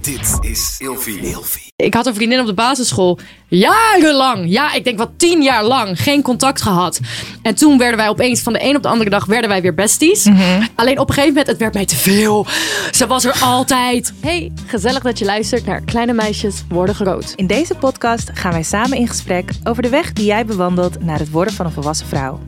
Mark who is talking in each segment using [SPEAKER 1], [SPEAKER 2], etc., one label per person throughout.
[SPEAKER 1] Dit is Ilvi.
[SPEAKER 2] Ik had een vriendin op de basisschool. Jarenlang. Ja, ik denk wel tien jaar lang. Geen contact gehad. En toen werden wij opeens van de een op de andere dag werden wij weer besties.
[SPEAKER 3] Mhm.
[SPEAKER 2] Alleen op een gegeven moment, het werd mij te veel. Ze was er altijd. Hey, gezellig dat je luistert naar Kleine Meisjes Worden Groot.
[SPEAKER 3] In deze podcast gaan wij samen in gesprek over de weg die jij bewandelt naar het worden van een volwassen vrouw.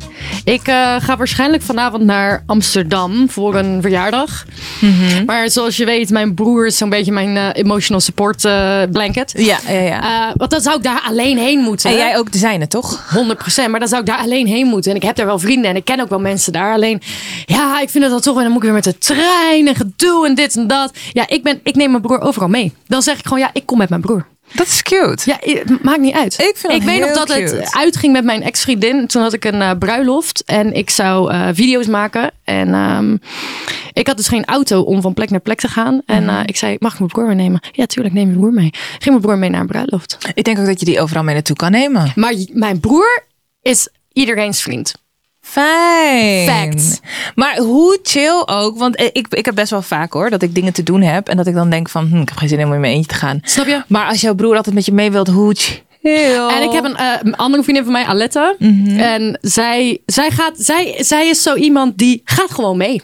[SPEAKER 2] Ik eh, ga waarschijnlijk vanavond naar Amsterdam voor een verjaardag.
[SPEAKER 3] Mhm.
[SPEAKER 2] Maar zoals je weet, mijn broer is zo'n beetje mijn eh, emotional support eh, blanket.
[SPEAKER 3] Ja, ja, ja.
[SPEAKER 2] Eh, want dan zou ik daar alleen heen moeten.
[SPEAKER 3] en jij ook de zijne, toch?
[SPEAKER 2] 100%. Maar dan zou ik daar alleen heen moeten. En ik heb daar wel vrienden en ik ken ook wel mensen daar. Alleen, ja, ik vind het dan toch. En dan moet ik weer met de trein en gedoe en dit en dat. Ja, ik, ben, ik neem mijn broer overal mee. Dan zeg ik gewoon, ja, ik kom met mijn broer.
[SPEAKER 3] Dat is cute.
[SPEAKER 2] Ja, het maakt niet uit.
[SPEAKER 3] Ik vind dat
[SPEAKER 2] ik weet nog
[SPEAKER 3] heel
[SPEAKER 2] dat het
[SPEAKER 3] cute.
[SPEAKER 2] uitging met mijn ex-vriendin. Toen had ik een eh, bruiloft en ik zou eh, video's maken. En ehm, ik had dus geen auto om van plek naar plek te gaan. En
[SPEAKER 3] Mhm.
[SPEAKER 2] eh, ik zei, mag ik mijn broer meenemen? Ja, tuurlijk, neem je broer mee. Ging mijn broer mee naar een bruiloft.
[SPEAKER 3] Ik denk ook dat je die overal mee naartoe kan nemen.
[SPEAKER 2] Maar j- mijn broer is iedereen's vriend.
[SPEAKER 3] Fijn.
[SPEAKER 2] Fact.
[SPEAKER 3] Maar hoe chill ook, want eh, ik, ik heb best wel vaak hoor dat ik dingen te doen heb en dat ik dan denk van, hm, ik heb geen zin om in mijn eentje te gaan.
[SPEAKER 2] Snap je?
[SPEAKER 3] Maar als jouw broer altijd met je mee wilt, hoe chill.
[SPEAKER 2] En ik heb een, eh, een andere vriendin van mij, Aletta.
[SPEAKER 3] Mhm.
[SPEAKER 2] En zij, zij, gaat, zij, zij is zo iemand die gaat gewoon mee.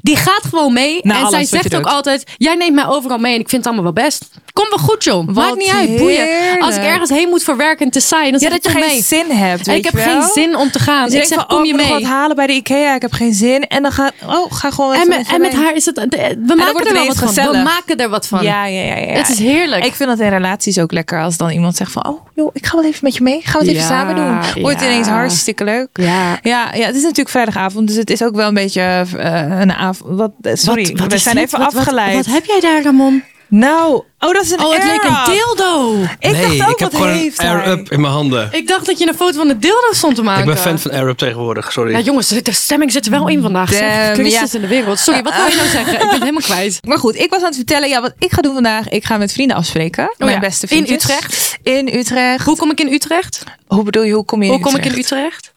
[SPEAKER 2] Die gaat gewoon mee.
[SPEAKER 3] Na
[SPEAKER 2] en
[SPEAKER 3] alles
[SPEAKER 2] zij
[SPEAKER 3] wat Nou, je
[SPEAKER 2] zegt ook
[SPEAKER 3] doet.
[SPEAKER 2] altijd: Jij neemt mij overal mee en ik vind het allemaal wel best. Kom wel goed, joh. Maakt
[SPEAKER 3] Wat
[SPEAKER 2] niet uit. Boeien.
[SPEAKER 3] heerlijk.
[SPEAKER 2] Als ik ergens heen moet voor werk en te saai, dan
[SPEAKER 3] ja,
[SPEAKER 2] zit
[SPEAKER 3] dat
[SPEAKER 2] ik
[SPEAKER 3] je
[SPEAKER 2] toch
[SPEAKER 3] geen
[SPEAKER 2] mee.
[SPEAKER 3] zin hebt.
[SPEAKER 2] en ik
[SPEAKER 3] weet
[SPEAKER 2] heb
[SPEAKER 3] je wel?
[SPEAKER 2] geen zin om te gaan.
[SPEAKER 3] Dus je
[SPEAKER 2] ik
[SPEAKER 3] denkt
[SPEAKER 2] zeg:
[SPEAKER 3] van,
[SPEAKER 2] Kom
[SPEAKER 3] oh,
[SPEAKER 2] je
[SPEAKER 3] ik moet nog
[SPEAKER 2] mee.
[SPEAKER 3] wat halen bij de Ikea, ik heb geen zin. En dan ga, oh, ga gewoon
[SPEAKER 2] En,
[SPEAKER 3] even
[SPEAKER 2] met,
[SPEAKER 3] je
[SPEAKER 2] en met
[SPEAKER 3] mee.
[SPEAKER 2] haar is het. de- We maken
[SPEAKER 3] wordt
[SPEAKER 2] er wel wat
[SPEAKER 3] ineens
[SPEAKER 2] van. We
[SPEAKER 3] gezellig.
[SPEAKER 2] maken er wat van.
[SPEAKER 3] Ja, ja, ja, ja.
[SPEAKER 2] Het is heerlijk.
[SPEAKER 3] Ik vind dat in relaties ook lekker als dan iemand zegt van... oh, joh, ik ga wel even met je mee. Gaan we het
[SPEAKER 2] Ja,
[SPEAKER 3] even samen doen. Wordt
[SPEAKER 2] ja.
[SPEAKER 3] ineens hartstikke leuk.
[SPEAKER 2] Ja.
[SPEAKER 3] Ja, ja, het is natuurlijk vrijdagavond, dus het is ook wel een beetje eh, een avond. Wat, eh, sorry,
[SPEAKER 2] Wat- wat
[SPEAKER 3] we
[SPEAKER 2] is
[SPEAKER 3] zijn
[SPEAKER 2] dit?
[SPEAKER 3] even
[SPEAKER 2] Wat- wat-
[SPEAKER 3] afgeleid.
[SPEAKER 2] Wat, heb jij daar, Ramon?
[SPEAKER 3] Nou, oh, dat is een
[SPEAKER 2] Oh, het leek een
[SPEAKER 3] air-up.
[SPEAKER 2] dildo.
[SPEAKER 3] Ik
[SPEAKER 4] nee,
[SPEAKER 3] dacht ook,
[SPEAKER 4] ik heb
[SPEAKER 3] wat
[SPEAKER 4] gewoon
[SPEAKER 3] heeft
[SPEAKER 4] een
[SPEAKER 3] hij?
[SPEAKER 4] air-up in mijn handen.
[SPEAKER 2] Ik dacht dat je een foto van de dildo stond te maken.
[SPEAKER 4] Ik ben fan van air-up tegenwoordig, sorry.
[SPEAKER 2] Ja, jongens, de stemming zit er wel in vandaag. Zeg.
[SPEAKER 3] Damn,
[SPEAKER 2] Christus
[SPEAKER 3] ja. Oh
[SPEAKER 2] in de wereld. Sorry, wat wil je nou zeggen? Ik ben het helemaal kwijt.
[SPEAKER 3] Maar goed, ik was aan het vertellen, ja, wat ik ga doen vandaag. Ik ga met vrienden afspreken. mijn
[SPEAKER 2] ja,
[SPEAKER 3] beste
[SPEAKER 2] in
[SPEAKER 3] vrienden.
[SPEAKER 2] Utrecht?
[SPEAKER 3] In Utrecht.
[SPEAKER 2] Hoe kom ik in Utrecht?
[SPEAKER 3] Hoe bedoel je, hoe kom je
[SPEAKER 2] Hoe
[SPEAKER 3] in
[SPEAKER 2] kom ik
[SPEAKER 3] Utrecht?
[SPEAKER 2] in Utrecht?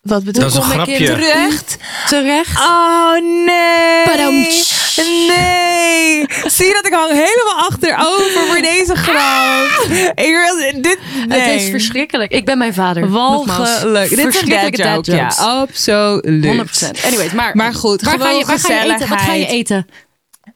[SPEAKER 3] Wat bedoel
[SPEAKER 4] Dat is een
[SPEAKER 3] kom ik in
[SPEAKER 4] grapje.
[SPEAKER 3] Utrecht?
[SPEAKER 2] Terecht.
[SPEAKER 3] Oh nee.
[SPEAKER 2] Padamtsch.
[SPEAKER 3] Nee. Zie je dat ik hang helemaal achterover voor deze grap. Ik wil dit nee.
[SPEAKER 2] Het is verschrikkelijk. Ik ben mijn vader. Nogmaals.
[SPEAKER 3] walgelijk. Dit is een dad
[SPEAKER 2] Verschrikkelijke
[SPEAKER 3] joke. Ja,
[SPEAKER 2] dad jokes.
[SPEAKER 3] absoluut.
[SPEAKER 2] 100%. Anyways, maar,
[SPEAKER 3] Maar goed,
[SPEAKER 2] waar ga,
[SPEAKER 3] gewoon
[SPEAKER 2] je, waar ga je eten? Wat ga je
[SPEAKER 3] gezelligheid.
[SPEAKER 2] eten?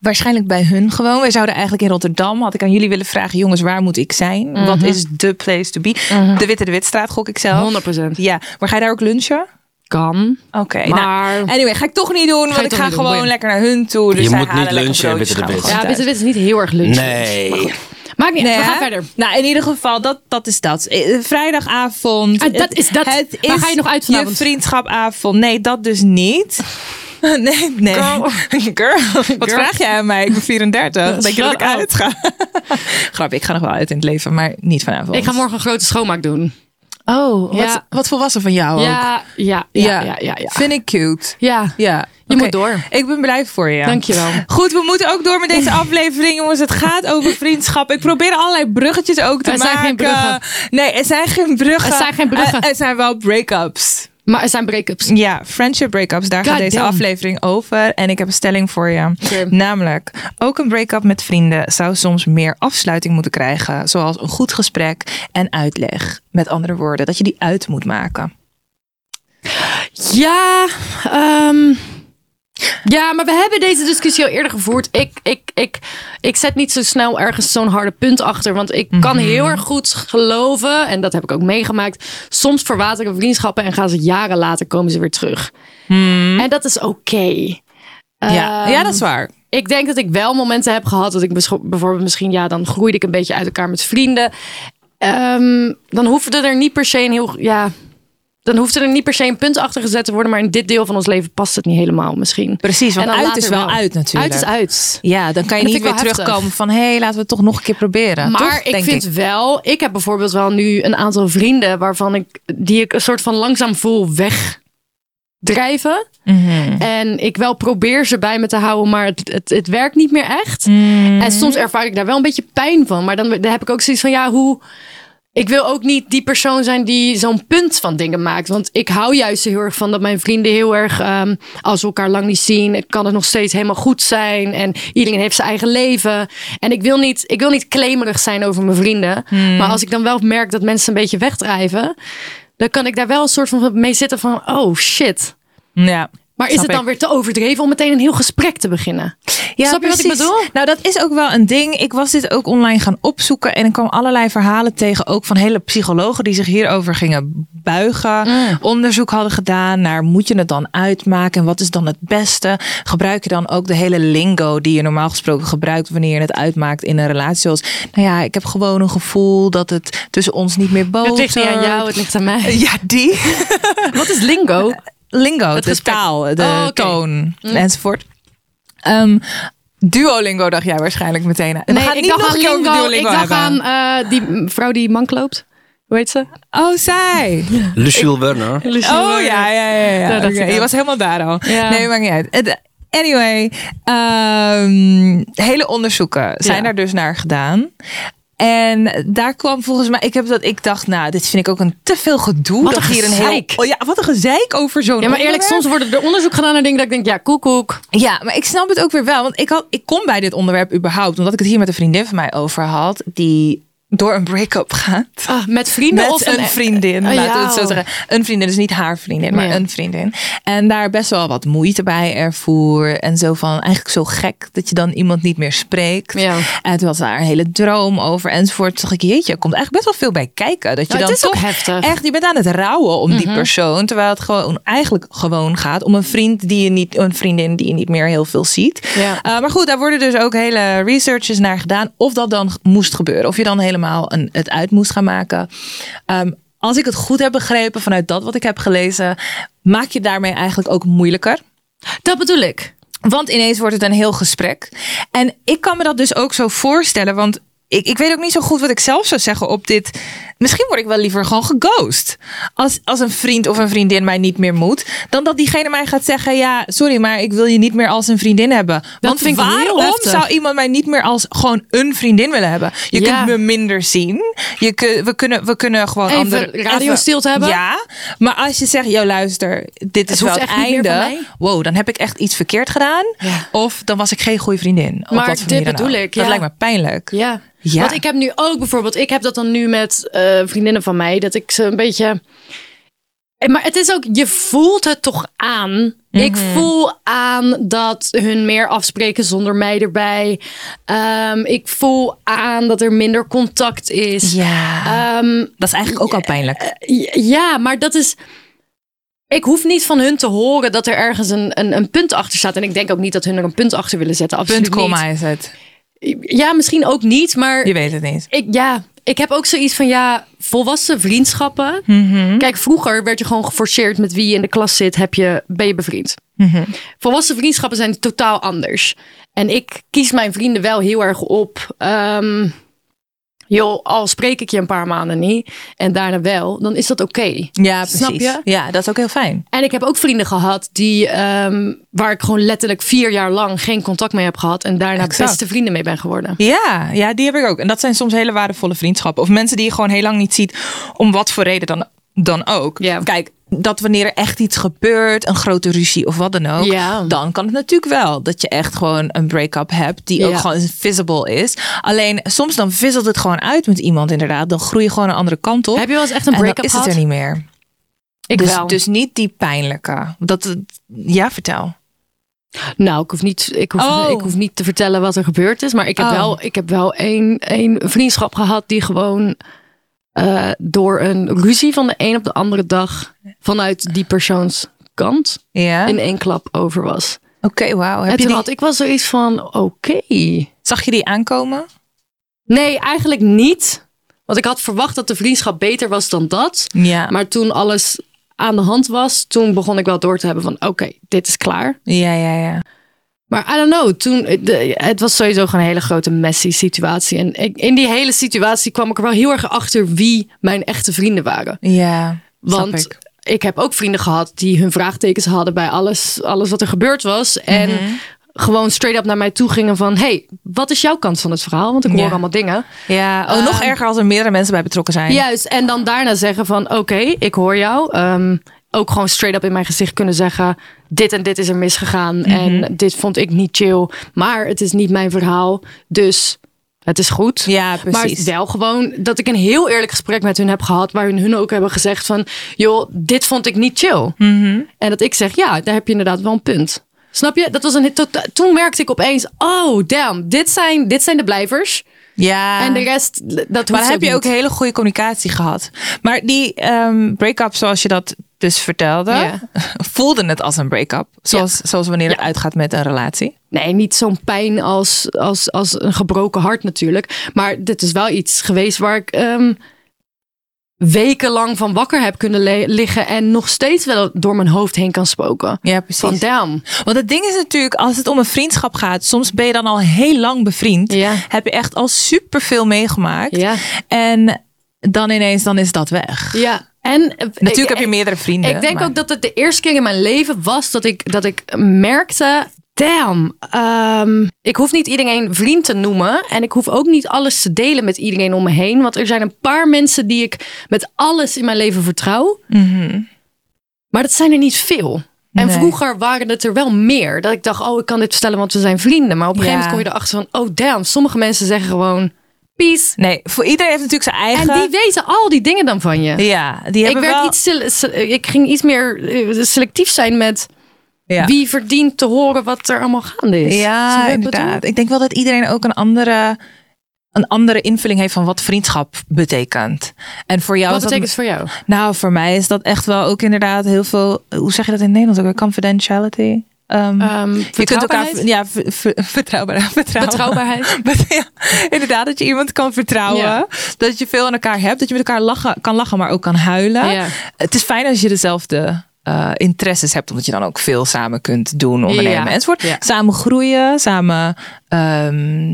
[SPEAKER 3] Waarschijnlijk bij hun gewoon. Wij zouden eigenlijk in Rotterdam, had ik aan jullie willen vragen, jongens, waar moet ik zijn? Wat is de place to be? De Witte de Witstraat gok ik zelf.
[SPEAKER 2] 100%.
[SPEAKER 3] Ja, maar ga je daar ook lunchen?
[SPEAKER 2] Kan.
[SPEAKER 3] Oké,
[SPEAKER 2] Maar-
[SPEAKER 3] nou, anyway, ga ik toch niet doen, want
[SPEAKER 2] je
[SPEAKER 3] ik
[SPEAKER 2] toch
[SPEAKER 3] ga
[SPEAKER 2] niet doen,
[SPEAKER 3] gewoon
[SPEAKER 2] boeien.
[SPEAKER 3] lekker naar hun toe. Dus
[SPEAKER 4] Je
[SPEAKER 3] zij
[SPEAKER 4] moet
[SPEAKER 3] halen
[SPEAKER 4] niet
[SPEAKER 3] lekker
[SPEAKER 4] lunchen,
[SPEAKER 3] broodjes,
[SPEAKER 4] Witte de
[SPEAKER 3] gaan we
[SPEAKER 4] Wit.
[SPEAKER 3] gewoon
[SPEAKER 2] Ja, dit
[SPEAKER 3] thuis.
[SPEAKER 2] is niet heel erg lunch.
[SPEAKER 4] Nee.
[SPEAKER 2] Maar goed. Maakt niet uit.
[SPEAKER 3] Nee,
[SPEAKER 2] We gaan
[SPEAKER 3] hè?
[SPEAKER 2] verder.
[SPEAKER 3] Nou, in ieder geval, dat, dat is dat. Eh, Vrijdagavond.
[SPEAKER 2] Ah, dat is dat.
[SPEAKER 3] Het
[SPEAKER 2] Waar
[SPEAKER 3] is
[SPEAKER 2] ga je nog uit vanavond?
[SPEAKER 3] Je vriendschapavond. Nee, dat dus niet. Nee, nee.
[SPEAKER 2] Girl.
[SPEAKER 3] Girl, Wat vraag jij aan mij? Ik ben 34. Denk je dat
[SPEAKER 2] Shut
[SPEAKER 3] ik
[SPEAKER 2] up.
[SPEAKER 3] uitga? Grap, ik ga nog wel uit in het leven, maar niet vanavond.
[SPEAKER 2] Ik ga morgen een grote schoonmaak doen.
[SPEAKER 3] Oh, wat,
[SPEAKER 2] Ja.
[SPEAKER 3] wat volwassen van jou ook.
[SPEAKER 2] Ja, ja, ja, ja, ja. ja.
[SPEAKER 3] Vind ik cute.
[SPEAKER 2] Ja.
[SPEAKER 3] Ja.
[SPEAKER 2] Je
[SPEAKER 3] oké.
[SPEAKER 2] moet door.
[SPEAKER 3] Ik ben blij voor je.
[SPEAKER 2] Dankjewel.
[SPEAKER 3] Goed, we moeten ook door met deze aflevering, jongens. Het gaat over vriendschap. Ik probeer allerlei bruggetjes ook te
[SPEAKER 2] Er zijn
[SPEAKER 3] maken.
[SPEAKER 2] geen bruggen.
[SPEAKER 3] Nee, er zijn geen bruggen.
[SPEAKER 2] Er zijn geen bruggen.
[SPEAKER 3] Eh, Er zijn wel break-ups.
[SPEAKER 2] Maar er zijn break-ups.
[SPEAKER 3] Ja, friendship break-ups. Daar gaat
[SPEAKER 2] God
[SPEAKER 3] deze
[SPEAKER 2] damn.
[SPEAKER 3] aflevering over. En ik heb een stelling voor je.
[SPEAKER 2] Oké.
[SPEAKER 3] Namelijk, ook een break-up met vrienden zou soms meer afsluiting moeten krijgen. Zoals een goed gesprek en uitleg. Met andere woorden, dat je die uit moet maken.
[SPEAKER 2] Ja, ehm, ja, maar we hebben deze discussie al eerder gevoerd. Ik, ik, ik, ik zet niet zo snel ergens zo'n harde punt achter. Want ik kan heel erg goed geloven, en dat heb ik ook meegemaakt. Soms verwateren vriendschappen en gaan ze jaren later komen ze weer terug. En dat is oké.
[SPEAKER 3] ja.
[SPEAKER 2] Ehm,
[SPEAKER 3] ja, dat is waar.
[SPEAKER 2] ik denk dat ik wel momenten heb gehad dat ik bischo- bijvoorbeeld misschien, ja, dan groeide ik een beetje uit elkaar met vrienden. Ehm, dan hoefde er niet per se een heel, ja, dan hoefde er niet per se een punt achter gezet te worden, maar in dit deel van ons leven past het niet helemaal misschien.
[SPEAKER 3] Precies, want
[SPEAKER 2] En dan
[SPEAKER 3] uit
[SPEAKER 2] later
[SPEAKER 3] is wel uit natuurlijk.
[SPEAKER 2] Uit is uit.
[SPEAKER 3] Ja, dan kan je
[SPEAKER 2] En dat
[SPEAKER 3] niet
[SPEAKER 2] vind
[SPEAKER 3] weer
[SPEAKER 2] ik wel heftig.
[SPEAKER 3] terugkomen van hé, hey, laten we het toch nog een keer proberen.
[SPEAKER 2] Maar
[SPEAKER 3] Toch,
[SPEAKER 2] ik
[SPEAKER 3] denk
[SPEAKER 2] vind wel, ik heb bijvoorbeeld wel nu een aantal vrienden waarvan ik, die ik een soort van langzaam voel wegdrijven.
[SPEAKER 3] Mhm.
[SPEAKER 2] En ik wel probeer ze bij me te houden, maar het, het, het werkt niet
[SPEAKER 3] Mhm.
[SPEAKER 2] meer echt. En soms ervaar ik daar wel een beetje pijn van. Maar dan, dan heb ik ook zoiets van, ja, hoe... ik wil ook niet die persoon zijn die zo'n punt van dingen maakt. Want ik hou juist heel erg van dat mijn vrienden heel erg, ehm, als we elkaar lang niet zien, kan het nog steeds helemaal goed zijn. En iedereen heeft zijn eigen leven. En ik wil niet, ik wil niet claimerig zijn over mijn vrienden. Maar als ik dan wel merk dat mensen een beetje wegdrijven, dan kan ik daar wel een soort van mee zitten van, oh shit.
[SPEAKER 3] Ja.
[SPEAKER 2] Maar is
[SPEAKER 3] Snap
[SPEAKER 2] het dan
[SPEAKER 3] ik.
[SPEAKER 2] weer te overdreven om meteen een heel gesprek te beginnen? Snap je wat ik bedoel?
[SPEAKER 3] Nou, dat is ook wel een ding. Ik was dit ook online gaan opzoeken en ik kwam allerlei verhalen tegen, ook van hele psychologen die zich hierover gingen buigen,
[SPEAKER 2] Mm.
[SPEAKER 3] onderzoek hadden gedaan naar moet je het dan uitmaken en wat is dan het beste? Gebruik je dan ook de hele lingo die je normaal gesproken gebruikt wanneer je het uitmaakt in een relatie? Zoals, nou ja, ik heb gewoon een gevoel dat het tussen ons niet meer boven.
[SPEAKER 2] Het ligt niet aan jou, het ligt aan mij.
[SPEAKER 3] Ja, die.
[SPEAKER 2] Wat is lingo?
[SPEAKER 3] lingo, de
[SPEAKER 2] gesprek.
[SPEAKER 3] taal, de
[SPEAKER 2] Oh, oké.
[SPEAKER 3] toon enzovoort. Ehm, Duolingo dacht jij waarschijnlijk meteen. We gaan niet nog een keer over
[SPEAKER 2] Ik
[SPEAKER 3] Duolingo
[SPEAKER 2] dacht aan
[SPEAKER 3] hebben.
[SPEAKER 2] eh, die vrouw die mank loopt. Hoe heet ze?
[SPEAKER 3] Oh, zij.
[SPEAKER 4] Lucille Werner.
[SPEAKER 3] Oh ja, ja, ja. ja.
[SPEAKER 2] Daar dacht
[SPEAKER 3] Oké,
[SPEAKER 2] ik aan.
[SPEAKER 3] je was helemaal daar al.
[SPEAKER 2] Ja.
[SPEAKER 3] Nee, maakt niet uit. Het- Anyway, ehm, hele onderzoeken zijn
[SPEAKER 2] Ja.
[SPEAKER 3] daar dus naar gedaan. En daar kwam volgens mij, ik heb dat, ik dacht, nou, dit vind ik ook een te veel gedoe.
[SPEAKER 2] Wat
[SPEAKER 3] dat
[SPEAKER 2] een
[SPEAKER 3] hier een heel,
[SPEAKER 2] gezeik.
[SPEAKER 3] oh ja, wat een gezeik over zo'n.
[SPEAKER 2] Ja, maar eerlijk,
[SPEAKER 3] onderwerp.
[SPEAKER 2] soms worden er onderzoek gedaan naar dingen dat ik denk, ja, koekoek.
[SPEAKER 3] Ja, maar ik snap het ook weer wel. Want ik, had, ik kom bij dit onderwerp überhaupt. Omdat ik het hier met een vriendin van mij over had. Die door een break-up gaat.
[SPEAKER 2] Ah, met vrienden
[SPEAKER 3] Met
[SPEAKER 2] of
[SPEAKER 3] een Oh, vriendin,
[SPEAKER 2] Ah,
[SPEAKER 3] laten we het
[SPEAKER 2] jou.
[SPEAKER 3] zo zeggen. Een vriendin, dus niet haar vriendin, maar
[SPEAKER 2] Ja.
[SPEAKER 3] een vriendin. En daar best wel wat moeite bij ervoer. En zo van, eigenlijk zo gek dat je dan iemand niet meer spreekt.
[SPEAKER 2] Ja.
[SPEAKER 3] En toen had ze daar een hele droom over enzovoort. Toen dacht ik, jeetje, er komt eigenlijk best wel veel bij kijken. Dat je
[SPEAKER 2] Nou,
[SPEAKER 3] dan
[SPEAKER 2] het is ook
[SPEAKER 3] toch
[SPEAKER 2] heftig.
[SPEAKER 3] echt, je bent aan het rouwen om die persoon. Terwijl het gewoon eigenlijk gewoon gaat om een vriend die je niet, een vriendin die je niet meer heel veel ziet.
[SPEAKER 2] Ja.
[SPEAKER 3] Eh, maar goed, daar worden dus ook hele researches naar gedaan. Of dat dan g- moest gebeuren. Of je dan helemaal een, het uit moest gaan maken. Ehm, als ik het goed heb begrepen vanuit dat wat ik heb gelezen, maak je daarmee eigenlijk ook moeilijker.
[SPEAKER 2] Dat bedoel ik.
[SPEAKER 3] Want ineens wordt het een heel gesprek. En ik kan me dat dus ook zo voorstellen. Want ik, ik weet ook niet zo goed wat ik zelf zou zeggen op dit. Misschien word ik wel liever gewoon geghost. Als, als een vriend of een vriendin mij niet meer moet. Dan dat diegene mij gaat zeggen: Ja, sorry, maar ik wil je niet meer als een vriendin hebben. want
[SPEAKER 2] vind ik heel
[SPEAKER 3] waarom
[SPEAKER 2] heftig.
[SPEAKER 3] zou iemand mij niet meer als gewoon een vriendin willen hebben? Je
[SPEAKER 2] Ja.
[SPEAKER 3] kunt me minder zien. Je kun- we, kunnen, we kunnen gewoon
[SPEAKER 2] Even
[SPEAKER 3] andere
[SPEAKER 2] radiostilte hebben.
[SPEAKER 3] Ja, maar als je zegt: Yo, luister, dit is
[SPEAKER 2] hoeft
[SPEAKER 3] wel het
[SPEAKER 2] echt niet meer
[SPEAKER 3] einde.
[SPEAKER 2] van mij.
[SPEAKER 3] Wow, dan heb ik echt iets verkeerd gedaan.
[SPEAKER 2] Ja.
[SPEAKER 3] Of dan was ik geen goede vriendin. Op
[SPEAKER 2] Maar
[SPEAKER 3] wat
[SPEAKER 2] dit
[SPEAKER 3] voor manier dan
[SPEAKER 2] bedoel
[SPEAKER 3] ook.
[SPEAKER 2] ik,
[SPEAKER 3] Dat
[SPEAKER 2] ja.
[SPEAKER 3] lijkt me pijnlijk.
[SPEAKER 2] Ja.
[SPEAKER 3] Ja.
[SPEAKER 2] Want ik heb nu ook bijvoorbeeld, ik heb dat dan nu met eh, vriendinnen van mij, dat ik ze een beetje. Eh, Maar het is ook, je voelt het toch aan. Ik voel aan dat hun meer afspreken zonder mij erbij. Ehm, ik voel aan dat er minder contact is.
[SPEAKER 3] Ja.
[SPEAKER 2] Ehm,
[SPEAKER 3] dat is eigenlijk ook al pijnlijk.
[SPEAKER 2] J- Ja, maar dat is. Ik hoef niet van hun te horen dat er ergens een, een, een punt achter staat. En ik denk ook niet dat hun er een punt achter willen zetten. Absoluut
[SPEAKER 3] Punt, komma is het.
[SPEAKER 2] niet. Ja, misschien ook niet. Maar
[SPEAKER 3] Je weet het niet.
[SPEAKER 2] ik, ja, ik heb ook zoiets van ja, volwassen vriendschappen. Kijk, vroeger werd je gewoon geforceerd met wie je in de klas zit, heb je, ben je bevriend. Volwassen vriendschappen zijn totaal anders. En ik kies mijn vrienden wel heel erg op. ehm, joh, al spreek ik je een paar maanden niet en daarna wel, dan is dat oké.
[SPEAKER 3] Ja, precies.
[SPEAKER 2] Snap je?
[SPEAKER 3] Ja, dat is ook heel fijn.
[SPEAKER 2] En ik heb ook vrienden gehad die, ehm, waar ik gewoon letterlijk vier jaar lang geen contact mee heb gehad. En daarna
[SPEAKER 3] Exact.
[SPEAKER 2] beste vrienden mee ben geworden.
[SPEAKER 3] Ja, ja, die heb ik ook. En dat zijn soms hele waardevolle vriendschappen. Of mensen die je gewoon heel lang niet ziet, om wat voor reden dan, dan ook.
[SPEAKER 2] Ja.
[SPEAKER 3] Kijk, dat wanneer er echt iets gebeurt, een grote ruzie of wat dan ook,
[SPEAKER 2] Ja.
[SPEAKER 3] dan kan het natuurlijk wel dat je echt gewoon een break-up hebt die ook
[SPEAKER 2] Ja.
[SPEAKER 3] gewoon visible is. Alleen soms dan wisselt het gewoon uit met iemand inderdaad. Dan groei je gewoon een andere kant op.
[SPEAKER 2] Heb je wel eens echt een
[SPEAKER 3] en dan
[SPEAKER 2] break-up
[SPEAKER 3] is het
[SPEAKER 2] gehad?
[SPEAKER 3] er niet meer.
[SPEAKER 2] Ik
[SPEAKER 3] dus,
[SPEAKER 2] wel.
[SPEAKER 3] dus niet die pijnlijke. Dat, ja, vertel.
[SPEAKER 2] Nou, ik hoef, niet, ik, hoef,
[SPEAKER 3] Oh.
[SPEAKER 2] ik hoef niet te vertellen wat er gebeurd is. Maar ik heb
[SPEAKER 3] Oh.
[SPEAKER 2] wel, ik heb wel één, één vriendschap gehad die gewoon eh, door een ruzie van de een op de andere dag vanuit die persoons kant
[SPEAKER 3] Ja.
[SPEAKER 2] in
[SPEAKER 3] Oké,
[SPEAKER 2] één klap over was.
[SPEAKER 3] wauw. Heb
[SPEAKER 2] en
[SPEAKER 3] je
[SPEAKER 2] toen
[SPEAKER 3] die,
[SPEAKER 2] had ik wel zoiets van, oké.
[SPEAKER 3] Zag je die aankomen?
[SPEAKER 2] Nee, eigenlijk niet. Want ik had verwacht dat de vriendschap beter was dan dat.
[SPEAKER 3] Ja.
[SPEAKER 2] Maar toen alles aan de hand was, toen begon ik wel door te hebben van oké, dit is klaar.
[SPEAKER 3] Ja, ja, ja.
[SPEAKER 2] Maar I don't know, toen, eh, de- het was sowieso gewoon een hele grote messy situatie. En ik, in die hele situatie kwam ik er wel heel erg achter wie mijn echte vrienden waren.
[SPEAKER 3] Ja. snap
[SPEAKER 2] Want
[SPEAKER 3] ik. Mhm.
[SPEAKER 2] ik heb ook vrienden gehad die hun vraagtekens hadden bij alles, alles wat er gebeurd was. En gewoon straight up naar mij toe gingen van... hey, wat is jouw kant van het verhaal? Want ik hoor
[SPEAKER 3] Ja.
[SPEAKER 2] allemaal dingen.
[SPEAKER 3] Ja, oh, nog
[SPEAKER 2] Ehm,
[SPEAKER 3] erger als er meerdere mensen bij betrokken zijn.
[SPEAKER 2] Juist, en dan daarna zeggen van oké, ik hoor jou. Ehm, ook gewoon straight up in mijn gezicht kunnen zeggen... dit en dit is er misgegaan
[SPEAKER 3] Mhm.
[SPEAKER 2] en dit vond ik niet chill. Maar het is niet mijn verhaal, dus het is goed.
[SPEAKER 3] Ja, precies.
[SPEAKER 2] Maar wel gewoon dat ik een heel eerlijk gesprek met hun heb gehad... waarin hun ook hebben gezegd van... joh, dit vond ik niet chill.
[SPEAKER 3] Mhm.
[SPEAKER 2] En dat ik zeg, ja, daar heb je inderdaad wel een punt. Snap je? Dat was een, tota- toen merkte ik opeens... oh, damn, dit zijn, dit zijn de blijvers.
[SPEAKER 3] ja.
[SPEAKER 2] En de rest, dat
[SPEAKER 3] Maar
[SPEAKER 2] hoeft
[SPEAKER 3] dan heb je ook
[SPEAKER 2] niet.
[SPEAKER 3] hele goede communicatie gehad. Maar die ehm break-up, zoals je dat dus vertelde,
[SPEAKER 2] Ja.
[SPEAKER 3] voelde het als een break-up. Zoals, zoals wanneer het uitgaat met een relatie.
[SPEAKER 2] Nee, niet zo'n pijn als, als, als een gebroken hart natuurlijk. Maar dit is wel iets geweest waar ik ehm, wekenlang van wakker heb kunnen le- liggen. En nog steeds wel door mijn hoofd heen kan spoken.
[SPEAKER 3] Ja, precies.
[SPEAKER 2] Van damn.
[SPEAKER 3] Want het ding is natuurlijk, als het om een vriendschap gaat, soms ben je dan al heel lang bevriend.
[SPEAKER 2] Ja.
[SPEAKER 3] Heb je echt al superveel meegemaakt.
[SPEAKER 2] Ja.
[SPEAKER 3] En dan ineens, dan is dat weg.
[SPEAKER 2] Ja, en... eh,
[SPEAKER 3] Natuurlijk heb je meerdere vrienden.
[SPEAKER 2] Ik denk
[SPEAKER 3] maar-
[SPEAKER 2] ook dat het de eerste keer in mijn leven was dat ik, dat ik merkte. Damn, ehm, ik hoef niet iedereen vriend te noemen. En ik hoef ook niet alles te delen met iedereen om me heen. Want er zijn een paar mensen die ik met alles in mijn leven vertrouw. Maar dat zijn er niet veel. En
[SPEAKER 3] Mhm. Nee.
[SPEAKER 2] vroeger waren het er wel meer. Dat ik dacht, oh, ik kan dit vertellen, want we zijn vrienden. Maar op een gegeven
[SPEAKER 3] Ja.
[SPEAKER 2] moment kom je erachter van, oh damn, sommige mensen zeggen gewoon peace.
[SPEAKER 3] Nee, voor iedereen heeft natuurlijk zijn eigen...
[SPEAKER 2] En die weten al die dingen dan van je.
[SPEAKER 3] Ja, die
[SPEAKER 2] Ik,
[SPEAKER 3] hebben
[SPEAKER 2] werd
[SPEAKER 3] wel...
[SPEAKER 2] iets, sele- se- ik ging iets meer eh, selectief zijn met
[SPEAKER 3] Ja.
[SPEAKER 2] wie verdient te horen wat er allemaal gaande is. Snap Dus
[SPEAKER 3] Ja,
[SPEAKER 2] je wat ik
[SPEAKER 3] inderdaad. Ik denk wel dat iedereen ook een andere, een andere invulling heeft van wat vriendschap betekent. En voor jou
[SPEAKER 2] bedoel? Wat
[SPEAKER 3] is dat-
[SPEAKER 2] betekent het voor jou?
[SPEAKER 3] Nou, voor mij is dat echt wel ook inderdaad heel veel. Hoe zeg je dat in Nederland ook? weer? Confidentiality. Ehm,
[SPEAKER 2] Ehm,
[SPEAKER 3] je kunt elkaar
[SPEAKER 2] vertrouwbaarheid?
[SPEAKER 3] ja, ver- ver- vertrouwbaar, vertrouwen.
[SPEAKER 2] Betrouwbaarheid.
[SPEAKER 3] Bet- ja, inderdaad, dat je iemand kan vertrouwen.
[SPEAKER 2] Ja.
[SPEAKER 3] Dat je veel aan elkaar hebt. Dat je met elkaar lachen, kan lachen, maar ook kan huilen.
[SPEAKER 2] Ja.
[SPEAKER 3] Het is fijn als je dezelfde eh, interesses hebt. Omdat je dan ook veel samen kunt doen, ondernemen
[SPEAKER 2] Ja.
[SPEAKER 3] enzovoort.
[SPEAKER 2] Ja.
[SPEAKER 3] Samen groeien, samen... ehm,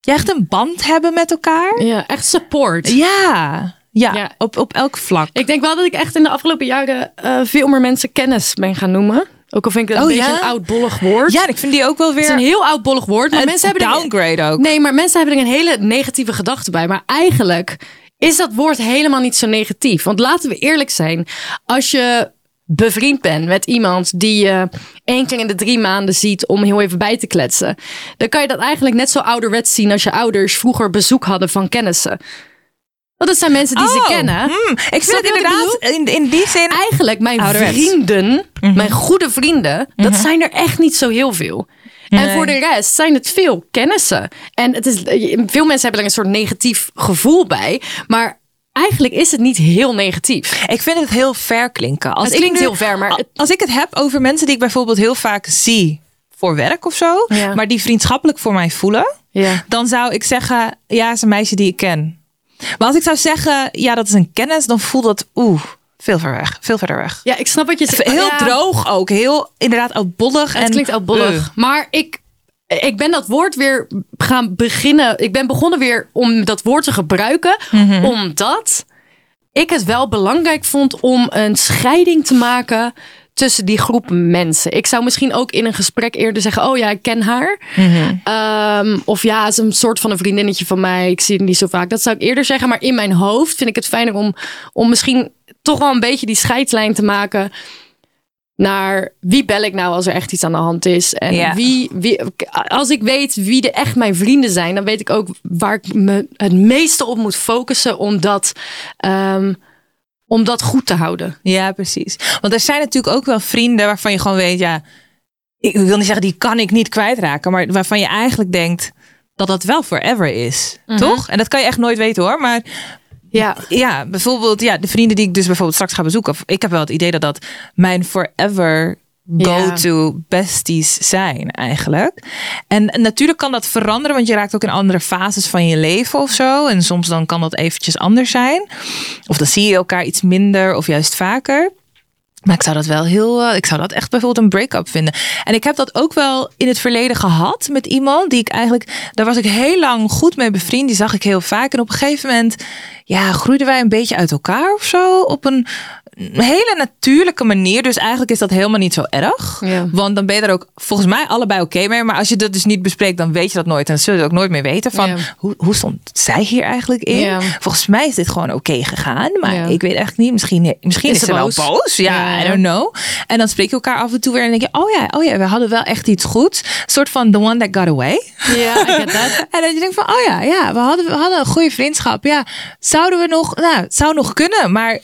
[SPEAKER 3] ja, echt een band hebben met elkaar.
[SPEAKER 2] Ja, echt support.
[SPEAKER 3] Ja, ja,
[SPEAKER 2] Ja.
[SPEAKER 3] Op, op elk vlak.
[SPEAKER 2] Ik denk wel dat ik echt in de afgelopen jaren eh, veel meer mensen kennis ben gaan noemen. Ook al vind ik dat
[SPEAKER 3] Oh,
[SPEAKER 2] een beetje
[SPEAKER 3] ja?
[SPEAKER 2] een oudbollig woord.
[SPEAKER 3] Ja, en ik vind die ook wel weer
[SPEAKER 2] het is een heel oudbollig woord. Maar
[SPEAKER 3] een
[SPEAKER 2] mensen hebben er-
[SPEAKER 3] downgrade ook.
[SPEAKER 2] Nee, maar mensen hebben er een hele negatieve gedachte bij. Maar eigenlijk is dat woord helemaal niet zo negatief. Want laten we eerlijk zijn. Als je bevriend bent met iemand die je één keer in de drie maanden ziet om heel even bij te kletsen. Dan kan je dat eigenlijk net zo ouderwets zien als je ouders vroeger bezoek hadden van kennissen. Want dat zijn mensen die ze
[SPEAKER 3] Oh,
[SPEAKER 2] kennen.
[SPEAKER 3] hmm, ik vind
[SPEAKER 2] Snap
[SPEAKER 3] het
[SPEAKER 2] je wat ik
[SPEAKER 3] inderdaad, in, in die zin...
[SPEAKER 2] Eigenlijk mijn
[SPEAKER 3] Ouderwets. Mhm.
[SPEAKER 2] vrienden, mijn goede vrienden, dat zijn er echt niet zo heel veel. En voor de rest zijn het veel kennissen. En het is, veel mensen hebben er een soort negatief gevoel bij. Maar eigenlijk is het niet heel negatief.
[SPEAKER 3] Ik vind het heel ver klinken. Als
[SPEAKER 2] Het
[SPEAKER 3] ik
[SPEAKER 2] klinkt
[SPEAKER 3] nu-
[SPEAKER 2] heel ver, maar
[SPEAKER 3] a-
[SPEAKER 2] het-
[SPEAKER 3] Als ik het heb over mensen die ik bijvoorbeeld heel vaak zie voor werk of zo,
[SPEAKER 2] Ja.
[SPEAKER 3] maar die vriendschappelijk voor mij voelen,
[SPEAKER 2] Ja.
[SPEAKER 3] dan zou ik zeggen, ja, is een meisje die ik ken. Maar als ik zou zeggen, ja, dat is een kennis, dan voelt dat, oeh, veel ver weg, veel verder weg.
[SPEAKER 2] Ja, ik snap wat je zegt.
[SPEAKER 3] Heel
[SPEAKER 2] Ja,
[SPEAKER 3] droog ook, heel inderdaad oudbollig.
[SPEAKER 2] Het
[SPEAKER 3] en, eh.
[SPEAKER 2] klinkt oudbollig.
[SPEAKER 3] Ugh.
[SPEAKER 2] Maar ik, ik ben dat woord weer gaan beginnen. Ik ben begonnen weer om dat woord te gebruiken. Omdat ik het wel belangrijk vond om een scheiding te maken tussen die groep mensen. Ik zou misschien ook in een gesprek eerder zeggen: Oh ja, ik ken haar. Ehm, of ja, ze is een soort van een vriendinnetje van mij. Ik zie het niet zo vaak. Dat zou ik eerder zeggen. Maar in mijn hoofd vind ik het fijner om, om misschien toch wel een beetje die scheidslijn te maken. Naar wie bel ik nou als er echt iets aan de hand is? En
[SPEAKER 3] Ja.
[SPEAKER 2] wie, wie, als ik weet wie de echt mijn vrienden zijn, dan weet ik ook waar ik me het meeste op moet focussen. Om dat, ehm, om dat goed te houden.
[SPEAKER 3] Ja, precies. Want er zijn natuurlijk ook wel vrienden waarvan je gewoon weet, ja, ik wil niet zeggen die kan ik niet kwijtraken, maar waarvan je eigenlijk denkt dat dat wel forever is, toch? En dat kan je echt nooit weten hoor, maar
[SPEAKER 2] Ja.
[SPEAKER 3] ja, bijvoorbeeld ja, de vrienden die ik dus bijvoorbeeld straks ga bezoeken, of ik heb wel het idee dat dat mijn forever go-to besties zijn eigenlijk. En, en natuurlijk kan dat veranderen, want je raakt ook in andere fases van je leven of zo. En soms dan kan dat eventjes anders zijn. Of dan zie je elkaar iets minder of juist vaker. Maar ik zou dat wel heel. eh, ik zou dat echt bijvoorbeeld een break-up vinden. En ik heb dat ook wel in het verleden gehad met iemand die ik eigenlijk. Daar was ik heel lang goed mee bevriend. Die zag ik heel vaak. En op een gegeven moment. Ja, groeiden wij een beetje uit elkaar of zo. Op een. hele natuurlijke manier. Dus eigenlijk is dat helemaal niet zo erg.
[SPEAKER 2] Ja.
[SPEAKER 3] Want dan ben je er ook volgens mij allebei oké mee. Maar als je dat dus niet bespreekt, dan weet je dat nooit. En dan zullen we het ook nooit meer weten van
[SPEAKER 2] Ja.
[SPEAKER 3] hoe, hoe stond zij hier eigenlijk in.
[SPEAKER 2] Ja.
[SPEAKER 3] Volgens mij is dit gewoon oké gegaan. Maar
[SPEAKER 2] Ja.
[SPEAKER 3] ik weet eigenlijk niet. Misschien, misschien
[SPEAKER 2] Is
[SPEAKER 3] is,
[SPEAKER 2] ze
[SPEAKER 3] ze wel
[SPEAKER 2] boos?
[SPEAKER 3] boos. Ja,
[SPEAKER 2] Ja.
[SPEAKER 3] I don't know. En dan spreek je elkaar af en toe weer. En dan denk je, oh ja, oh ja, we hadden wel echt iets goeds. Een soort van the one that got away.
[SPEAKER 2] Ja, I get that.
[SPEAKER 3] En dat je denkt van, oh ja, ja we, hadden, we hadden een goede vriendschap. Ja, zouden we nog, nou, het zou nog kunnen. Maar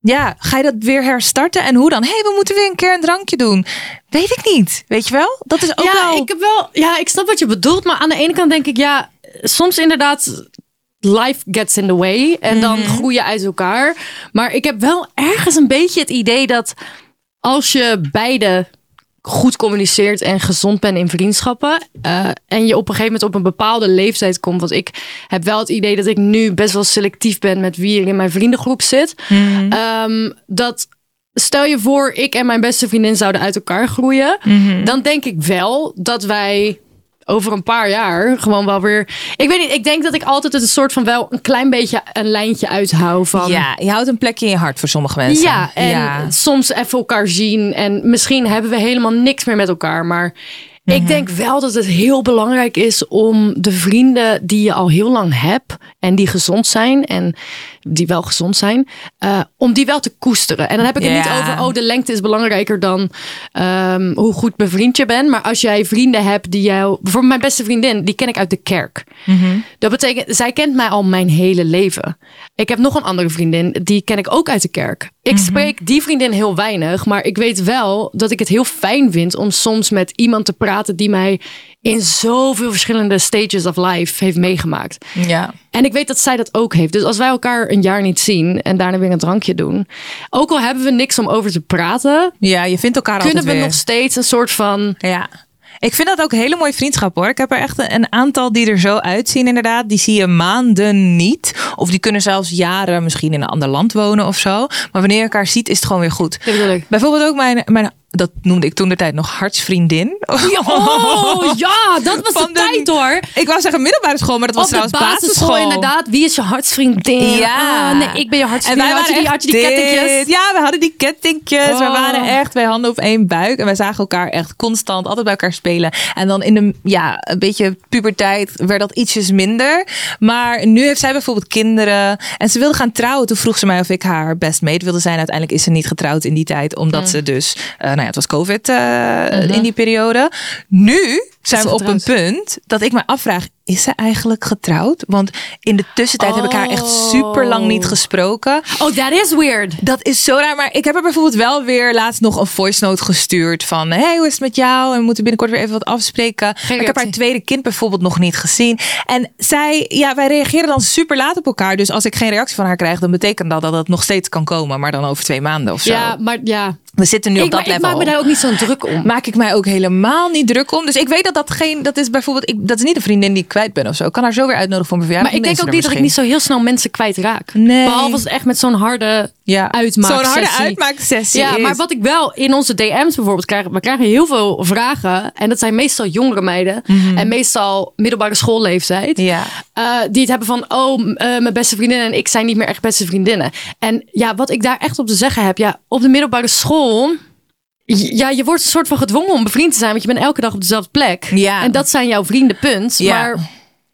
[SPEAKER 3] ja, ga je dat weer herstarten? En hoe dan? Hé, hey, we moeten weer een keer een drankje doen. Weet ik niet. Weet je wel? Dat is ook
[SPEAKER 2] ja,
[SPEAKER 3] wel...
[SPEAKER 2] ik heb wel. Ja, ik snap wat je bedoelt. Maar aan de ene kant denk ik, ja, soms inderdaad. Life gets in the way. En dan
[SPEAKER 3] Mhm.
[SPEAKER 2] groei je uit elkaar. Maar ik heb wel ergens een beetje het idee dat als je beide goed communiceert en gezond bent in vriendschappen. eh, en je op een gegeven moment op een bepaalde leeftijd komt. Want ik heb wel het idee dat ik nu best wel selectief ben met wie ik in mijn vriendengroep zit. Ehm, dat stel je voor, ik en mijn beste vriendin zouden uit elkaar groeien. Dan denk ik wel dat wij over een paar jaar gewoon wel weer. Ik weet niet, ik denk dat ik altijd het een soort van wel een klein beetje een lijntje uithou van.
[SPEAKER 3] Ja, je houdt een plekje in je hart voor sommige mensen.
[SPEAKER 2] Ja, en soms even elkaar zien. En misschien hebben we helemaal niks meer met elkaar. Maar ik denk wel dat het heel belangrijk is om de vrienden die je al heel lang hebt. En die gezond zijn. En die wel gezond zijn. eh, om die wel te koesteren. En dan heb ik het
[SPEAKER 3] Ja.
[SPEAKER 2] niet over, oh de lengte is belangrijker dan ehm, hoe goed bevriend je bent. Maar als jij vrienden hebt die jou... Bijvoorbeeld mijn beste vriendin, die ken ik uit de kerk. Dat betekent, zij kent mij al mijn hele leven. Ik heb nog een andere vriendin, die ken ik ook uit de kerk. Ik
[SPEAKER 3] Mhm.
[SPEAKER 2] spreek die vriendin heel weinig, maar ik weet wel dat ik het heel fijn vind om soms met iemand te praten die mij in zoveel verschillende stages of life heeft meegemaakt.
[SPEAKER 3] ja.
[SPEAKER 2] En ik weet dat zij dat ook heeft. Dus als wij elkaar een jaar niet zien en daarna weer een drankje doen, ook al hebben we niks om over te praten,
[SPEAKER 3] ja, je vindt elkaar
[SPEAKER 2] kunnen
[SPEAKER 3] altijd
[SPEAKER 2] we
[SPEAKER 3] weer.
[SPEAKER 2] nog steeds een soort van.
[SPEAKER 3] Ja. Ik vind dat ook een hele mooie vriendschap hoor. Ik heb er echt een- een aantal die er zo uitzien inderdaad. Die zie je maanden niet. Of die kunnen zelfs jaren misschien in een ander land wonen of zo. Maar wanneer je elkaar ziet is het gewoon weer goed.
[SPEAKER 2] Ja, bedoel ik.
[SPEAKER 3] Bijvoorbeeld ook mijn, mijn dat noemde ik toen de tijd nog hartsvriendin.
[SPEAKER 2] Oh ja, dat was
[SPEAKER 3] Van
[SPEAKER 2] de
[SPEAKER 3] de-
[SPEAKER 2] tijd hoor.
[SPEAKER 3] Ik wou zeggen middelbare school, maar dat was
[SPEAKER 2] Op de
[SPEAKER 3] trouwens
[SPEAKER 2] basisschool, inderdaad. Wie is je hartsvriendin?
[SPEAKER 3] Ja.
[SPEAKER 2] Ah, nee, ik ben je hartsvriendin.
[SPEAKER 3] En wij
[SPEAKER 2] had je
[SPEAKER 3] waren
[SPEAKER 2] die, had je die
[SPEAKER 3] echt
[SPEAKER 2] kettingjes?
[SPEAKER 3] dit. Ja, we hadden die kettingjes.
[SPEAKER 2] Oh.
[SPEAKER 3] We waren echt twee handen op één buik. En wij zagen elkaar echt constant, altijd bij elkaar spelen. En dan in de, ja, een beetje puberteit werd dat ietsjes minder. Maar nu heeft zij bijvoorbeeld kinderen. En ze wilde gaan trouwen. Toen vroeg ze mij of ik haar best mate wilde zijn. Uiteindelijk is ze niet getrouwd in die tijd. Omdat
[SPEAKER 2] Mm.
[SPEAKER 3] ze dus, eh, nou ja, het was COVID eh, in die periode. Nu zijn
[SPEAKER 2] Mm-hmm. ze
[SPEAKER 3] we op een punt dat ik me afvraag. Is ze eigenlijk getrouwd? Want in de tussentijd heb ik haar echt super lang niet gesproken.
[SPEAKER 2] Oh, that is weird.
[SPEAKER 3] Dat is zo raar. Maar ik heb er bijvoorbeeld wel weer laatst nog een voice note gestuurd. Van, hey, hoe is het met jou? En we moeten binnenkort weer even wat afspreken. Maar ik heb haar
[SPEAKER 2] reactie.
[SPEAKER 3] tweede kind bijvoorbeeld nog niet gezien. En zij, ja, wij reageren dan super laat op elkaar. Dus als ik geen reactie van haar krijg, dan betekent dat dat het nog steeds kan komen. Maar dan over twee maanden of zo.
[SPEAKER 2] Ja, maar ja.
[SPEAKER 3] We zitten nu
[SPEAKER 2] Ik,
[SPEAKER 3] op dat
[SPEAKER 2] maar ik
[SPEAKER 3] level
[SPEAKER 2] maak me daar ook niet zo'n druk om.
[SPEAKER 3] maak ik mij ook helemaal niet druk om. Dus ik weet dat dat geen, dat is bijvoorbeeld, ik, dat is niet een vriendin die ik kwijt ben of zo. Ik kan haar zo weer uitnodigen voor mijn
[SPEAKER 2] Maar
[SPEAKER 3] verjaardag.
[SPEAKER 2] ik denk ook niet dat ik niet zo heel snel mensen kwijtraak.
[SPEAKER 3] Nee.
[SPEAKER 2] Behalve als het echt met zo'n harde
[SPEAKER 3] ja.
[SPEAKER 2] uitmaaksessie.
[SPEAKER 3] Zo'n harde uitmaaksessie
[SPEAKER 2] Ja,
[SPEAKER 3] is.
[SPEAKER 2] maar wat ik wel in onze DM's bijvoorbeeld krijg, we krijgen heel veel vragen. En dat zijn meestal jongere meiden. En meestal middelbare schoolleeftijd.
[SPEAKER 3] Mhm. Ja.
[SPEAKER 2] eh, die het hebben van, oh, m- eh, mijn beste vriendinnen en ik zijn niet meer echt beste vriendinnen. En ja, wat ik daar echt op te zeggen heb, ja, op de middelbare school. j- Ja, je wordt een soort van gedwongen om bevriend te zijn, want je bent elke dag op dezelfde plek.
[SPEAKER 3] Ja.
[SPEAKER 2] En dat zijn jouw vrienden, punt.
[SPEAKER 3] Ja.
[SPEAKER 2] Maar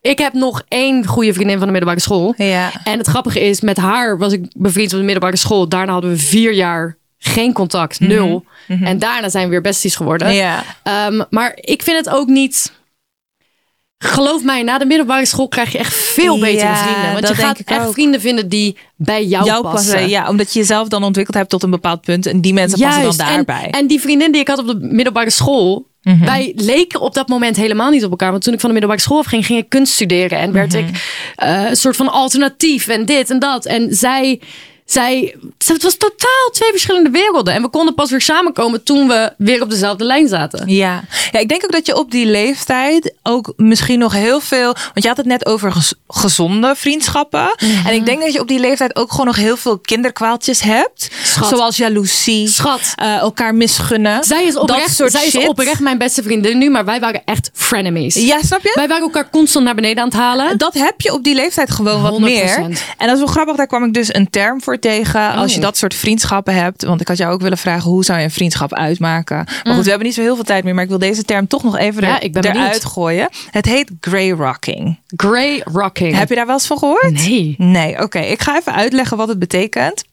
[SPEAKER 2] ik heb nog één goede vriendin van de middelbare school.
[SPEAKER 3] Ja.
[SPEAKER 2] En het grappige is, met haar was ik bevriend op de middelbare school. Daarna hadden we vier jaar geen contact, nul. En daarna zijn we weer besties geworden.
[SPEAKER 3] Mhm. Ja.
[SPEAKER 2] Ehm, maar ik vind het ook niet. Geloof mij, na de middelbare school krijg je echt veel betere
[SPEAKER 3] Ja,
[SPEAKER 2] vrienden. Want
[SPEAKER 3] dat
[SPEAKER 2] je
[SPEAKER 3] denk
[SPEAKER 2] gaat
[SPEAKER 3] ik
[SPEAKER 2] echt
[SPEAKER 3] ook.
[SPEAKER 2] vrienden vinden die bij jou,
[SPEAKER 3] Jou passen, ja, omdat je jezelf dan ontwikkeld hebt tot een bepaald punt en die mensen passen dan
[SPEAKER 2] en,
[SPEAKER 3] daarbij. Mhm.
[SPEAKER 2] en die vriendin die ik had op de middelbare school. Wij leken op dat moment helemaal niet op elkaar. Want toen ik van de middelbare school afging, ging ik kunst studeren. En werd
[SPEAKER 3] Mhm.
[SPEAKER 2] ik eh, een soort van alternatief en dit en dat. En zij, zij, het was totaal twee verschillende werelden. En we konden pas weer samenkomen toen we weer op dezelfde lijn zaten.
[SPEAKER 3] Ja. ja, ik denk ook dat je op die leeftijd ook misschien nog heel veel. Want je had het net over gez- gezonde vriendschappen.
[SPEAKER 2] Mhm.
[SPEAKER 3] En ik denk dat je op die leeftijd ook gewoon nog heel veel kinderkwaaltjes hebt.
[SPEAKER 2] Schat.
[SPEAKER 3] Zoals jaloezie,
[SPEAKER 2] Schat.
[SPEAKER 3] eh, elkaar misgunnen.
[SPEAKER 2] Zij is,
[SPEAKER 3] dat
[SPEAKER 2] oprecht,
[SPEAKER 3] soort
[SPEAKER 2] zij is
[SPEAKER 3] shit.
[SPEAKER 2] oprecht mijn beste vriendin nu, maar wij waren echt frenemies.
[SPEAKER 3] Ja, snap je?
[SPEAKER 2] Wij waren elkaar constant naar beneden aan het halen.
[SPEAKER 3] dat heb je op die leeftijd gewoon wat
[SPEAKER 2] 100%.
[SPEAKER 3] meer. En dat is wel grappig, daar kwam ik dus een term voor voor tegen
[SPEAKER 2] Oh.
[SPEAKER 3] als je dat soort vriendschappen hebt. Want ik had jou ook willen vragen, hoe zou je een vriendschap uitmaken? Maar goed, we hebben niet zo heel veel tijd meer, maar ik wil deze term toch nog even
[SPEAKER 2] Mm. Ja,
[SPEAKER 3] er-
[SPEAKER 2] ik ben
[SPEAKER 3] eruit
[SPEAKER 2] benieuwd.
[SPEAKER 3] gooien. Het heet grey rocking.
[SPEAKER 2] Grey rocking.
[SPEAKER 3] Heb je daar wel eens van gehoord?
[SPEAKER 2] Nee.
[SPEAKER 3] Nee, oké. Ik ga even uitleggen wat het betekent.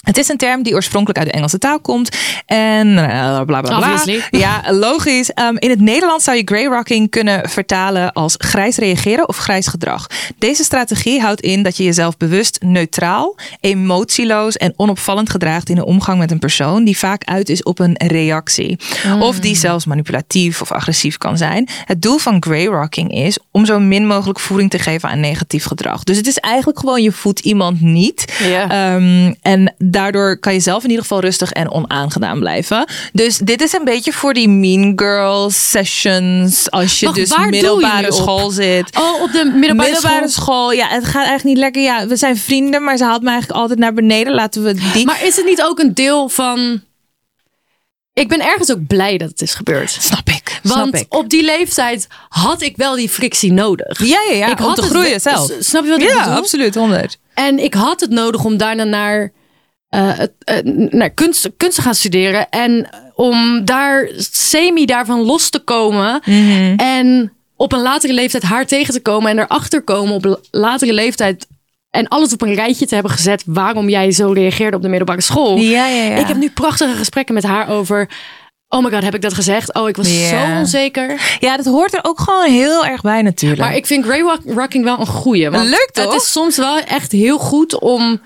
[SPEAKER 3] Het is een term die oorspronkelijk uit de Engelse taal komt. En eh, bla bla bla.
[SPEAKER 2] Obviously.
[SPEAKER 3] Ja, logisch. Ehm, in het Nederlands zou je grey rocking kunnen vertalen als grijs reageren of grijs gedrag. Deze strategie houdt in dat je jezelf bewust neutraal, emotieloos en onopvallend gedraagt in de omgang met een persoon die vaak uit is op een reactie. Of die zelfs manipulatief of agressief kan zijn. Het doel van grey rocking is om zo min mogelijk voering te geven aan negatief gedrag. Dus het is eigenlijk gewoon je voedt iemand niet.
[SPEAKER 2] Ja.
[SPEAKER 3] Ehm, en daardoor kan je zelf in ieder geval rustig en onaangedaan blijven. Dus dit is een beetje voor die mean girl sessions. Als je
[SPEAKER 2] Wacht,
[SPEAKER 3] dus
[SPEAKER 2] waar doe je nu
[SPEAKER 3] middelbare
[SPEAKER 2] op?
[SPEAKER 3] school zit.
[SPEAKER 2] Oh, op de middelbare, school.
[SPEAKER 3] Middelbare school, ja, het gaat eigenlijk niet lekker. Ja, we zijn vrienden, maar ze haalt me eigenlijk altijd naar beneden. Laten we die.
[SPEAKER 2] Maar is het niet ook een deel van... Ik ben ergens ook blij dat het is gebeurd.
[SPEAKER 3] snap ik.
[SPEAKER 2] Want
[SPEAKER 3] snap ik.
[SPEAKER 2] op die leeftijd had ik wel die frictie nodig.
[SPEAKER 3] ja, ja, ja.
[SPEAKER 2] ik
[SPEAKER 3] om te
[SPEAKER 2] het-
[SPEAKER 3] groeien zelf.
[SPEAKER 2] S- Snap je wat ik
[SPEAKER 3] Ja,
[SPEAKER 2] bedoel?
[SPEAKER 3] absoluut, 100.
[SPEAKER 2] En ik had het nodig om daarna naar, eh, het- eh, naar kunst, kunst te gaan studeren. En om daar semi daarvan los te komen.
[SPEAKER 3] Mhm.
[SPEAKER 2] En op een latere leeftijd haar tegen te komen. En erachter komen op la- latere leeftijd. En alles op een rijtje te hebben gezet. Waarom jij zo reageerde op de middelbare school.
[SPEAKER 3] Ja, ja, ja.
[SPEAKER 2] Ik heb nu prachtige gesprekken met haar over. Oh my god, heb ik dat gezegd? Oh, ik was
[SPEAKER 3] Ja.
[SPEAKER 2] zo onzeker.
[SPEAKER 3] Ja, dat hoort er ook gewoon heel erg bij natuurlijk.
[SPEAKER 2] Maar ik vind Grey rock- Rocking wel een goeie. Want
[SPEAKER 3] Leuk, toch?
[SPEAKER 2] Het is soms wel echt heel goed om,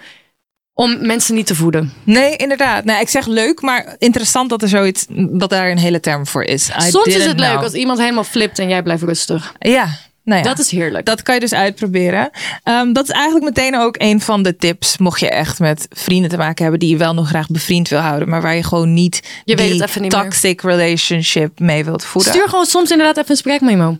[SPEAKER 2] om mensen niet te voeden.
[SPEAKER 3] Nee, inderdaad. Nou, ik zeg leuk, maar interessant dat er zoiets dat daar een hele term voor is. I
[SPEAKER 2] Soms is
[SPEAKER 3] didn't
[SPEAKER 2] het leuk
[SPEAKER 3] know.
[SPEAKER 2] als iemand helemaal flipt en jij blijft rustig.
[SPEAKER 3] Ja, nou ja.
[SPEAKER 2] Dat is heerlijk.
[SPEAKER 3] Dat kan je dus uitproberen. Ehm, dat is eigenlijk meteen ook een van de tips. Mocht je echt met vrienden te maken hebben die je wel nog graag bevriend wil houden, maar waar je gewoon niet
[SPEAKER 2] Je weet
[SPEAKER 3] die
[SPEAKER 2] het even niet meer.
[SPEAKER 3] toxic relationship mee wilt voeden.
[SPEAKER 2] Stuur gewoon soms inderdaad even een spreekmemo.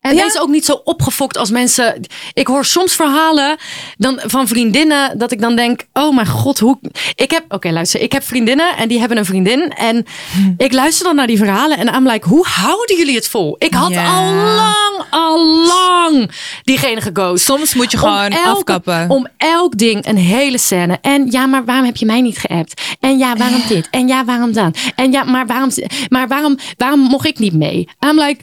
[SPEAKER 2] En
[SPEAKER 3] Ja.
[SPEAKER 2] wees ook niet zo opgefokt als mensen. Ik hoor soms verhalen dan, van vriendinnen dat ik dan denk: oh mijn god, hoe. Ik heb, oké, luister, ik heb vriendinnen en die hebben een vriendin. En
[SPEAKER 3] Hm.
[SPEAKER 2] ik luister dan naar die verhalen en I'm like: hoe houden jullie het vol? Ik had
[SPEAKER 3] Ja.
[SPEAKER 2] al lang, al lang diegene geghost.
[SPEAKER 3] Soms moet je gewoon
[SPEAKER 2] Om elke-
[SPEAKER 3] afkappen.
[SPEAKER 2] Om elk ding een hele scène. En ja, maar waarom heb je mij niet geappt? En ja,
[SPEAKER 3] Eh.
[SPEAKER 2] waarom dit? En ja, waarom dan? En ja, maar waarom, maar waarom, waarom mocht ik niet mee? I'm like,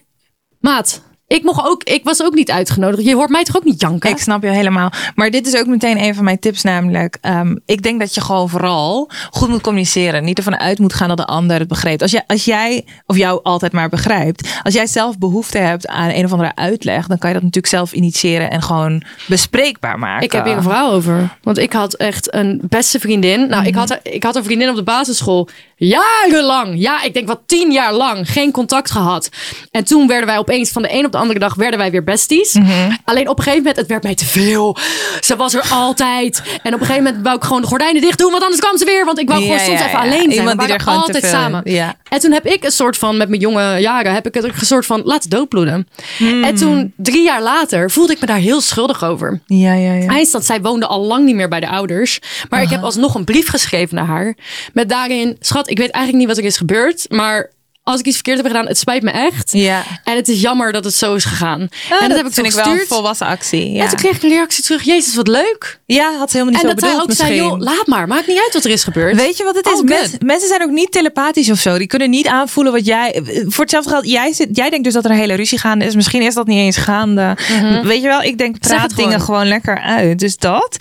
[SPEAKER 2] maat, ik, mocht ook, ik was ook niet uitgenodigd. Je hoort mij toch ook niet janken?
[SPEAKER 3] Ik snap je helemaal. Maar dit is ook meteen een van mijn tips, namelijk. ehm, ik denk dat je gewoon vooral goed moet communiceren. Niet ervan uit moet gaan dat de ander het begrijpt. Als jij, als jij of jou altijd maar begrijpt. Als jij zelf behoefte hebt aan een of andere uitleg, dan kan je dat natuurlijk zelf initiëren en gewoon bespreekbaar maken.
[SPEAKER 2] Ik heb hier een verhaal over. Want ik had echt een beste vriendin. Nou,
[SPEAKER 3] Mhm.
[SPEAKER 2] ik, had, ik had een vriendin op de basisschool. Jarenlang. Ja, ik denk wel tien jaar lang. Geen contact gehad. En toen werden wij opeens van de een op de andere dag werden wij weer besties.
[SPEAKER 3] Mhm.
[SPEAKER 2] Alleen op een gegeven moment, het werd mij te veel. Ze was er altijd. En op een gegeven moment wou ik gewoon de gordijnen dicht doen. Want anders kwam ze weer. Want ik wou gewoon
[SPEAKER 3] Ja,
[SPEAKER 2] soms
[SPEAKER 3] ja,
[SPEAKER 2] even
[SPEAKER 3] ja.
[SPEAKER 2] alleen zijn.
[SPEAKER 3] Iemand
[SPEAKER 2] We
[SPEAKER 3] die
[SPEAKER 2] waren
[SPEAKER 3] er gewoon te
[SPEAKER 2] altijd
[SPEAKER 3] veel-
[SPEAKER 2] samen.
[SPEAKER 3] ja.
[SPEAKER 2] En toen heb ik een soort van, met mijn jonge jaren, heb ik het een soort van laten doodbloeden.
[SPEAKER 3] Hmm.
[SPEAKER 2] En toen, drie jaar later, voelde ik me daar heel schuldig over.
[SPEAKER 3] Ja, ja, ja.
[SPEAKER 2] Hij is dat zij woonde al lang niet meer bij de ouders. Maar ik heb alsnog een brief geschreven naar haar. Met daarin, schat, ik weet eigenlijk niet wat er is gebeurd. Maar als ik iets verkeerd heb gedaan, het spijt me echt.
[SPEAKER 3] Ja.
[SPEAKER 2] En het is jammer dat het zo is gegaan.
[SPEAKER 3] Ah,
[SPEAKER 2] en dat,
[SPEAKER 3] dat
[SPEAKER 2] heb ik toen
[SPEAKER 3] vind ik wel een
[SPEAKER 2] gestuurd.
[SPEAKER 3] volwassen actie. Ja,
[SPEAKER 2] En toen kreeg ik een reactie terug. Jezus, wat leuk.
[SPEAKER 3] ja had ze helemaal niet
[SPEAKER 2] en
[SPEAKER 3] zo
[SPEAKER 2] dat zij
[SPEAKER 3] bedoeld
[SPEAKER 2] ook
[SPEAKER 3] misschien.
[SPEAKER 2] zei, joh, laat maar. Maakt niet uit wat er is gebeurd.
[SPEAKER 3] Weet je wat het is?
[SPEAKER 2] All
[SPEAKER 3] Mens-
[SPEAKER 2] good.
[SPEAKER 3] mensen zijn ook niet telepathisch of zo. Die kunnen niet aanvoelen wat jij. Voor hetzelfde geld, jij, zit, jij denkt dus dat er een hele ruzie gaande is. Misschien is dat niet eens gaande. Weet je wel, ik denk,
[SPEAKER 2] Mhm. Zeg
[SPEAKER 3] praat
[SPEAKER 2] het
[SPEAKER 3] dingen
[SPEAKER 2] gewoon.
[SPEAKER 3] gewoon lekker uit. Dus dat.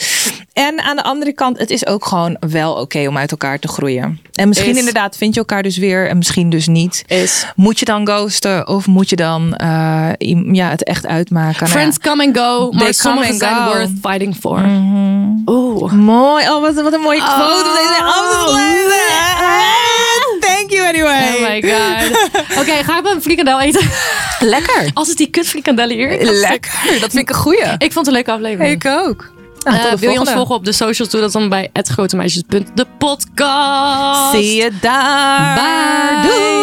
[SPEAKER 3] En aan de andere kant, het is ook gewoon wel oké om uit elkaar te groeien. En misschien
[SPEAKER 2] Is.
[SPEAKER 3] inderdaad vind je elkaar dus weer en misschien dus niet.
[SPEAKER 2] Is.
[SPEAKER 3] Moet je dan ghosten of moet je dan eh, iem- ja, het echt uitmaken? Nou ja.
[SPEAKER 2] Friends come and go.
[SPEAKER 3] They
[SPEAKER 2] Maar
[SPEAKER 3] come
[SPEAKER 2] sommigen
[SPEAKER 3] and
[SPEAKER 2] zijn
[SPEAKER 3] go. Mhm.
[SPEAKER 2] worth fighting for. Oeh.
[SPEAKER 3] Mooi. Oh, wat, wat een mooie quote om deze
[SPEAKER 2] Oh.
[SPEAKER 3] af te sluiten. Thank you anyway.
[SPEAKER 2] Oh my god. Oké, ga ik een frikandel eten?
[SPEAKER 3] Lekker.
[SPEAKER 2] Als het die kut frikandellen hier. is.
[SPEAKER 3] Lekker, dat vind ik een goeie.
[SPEAKER 2] Ik vond het een leuke aflevering.
[SPEAKER 3] Ik ook. Nou,
[SPEAKER 2] Eh, wil je ons volgen op de socials? Doe dat dan bij hetgrotemeisjes.depodcast.
[SPEAKER 3] Zie je daar.
[SPEAKER 2] Bye.
[SPEAKER 3] Doei.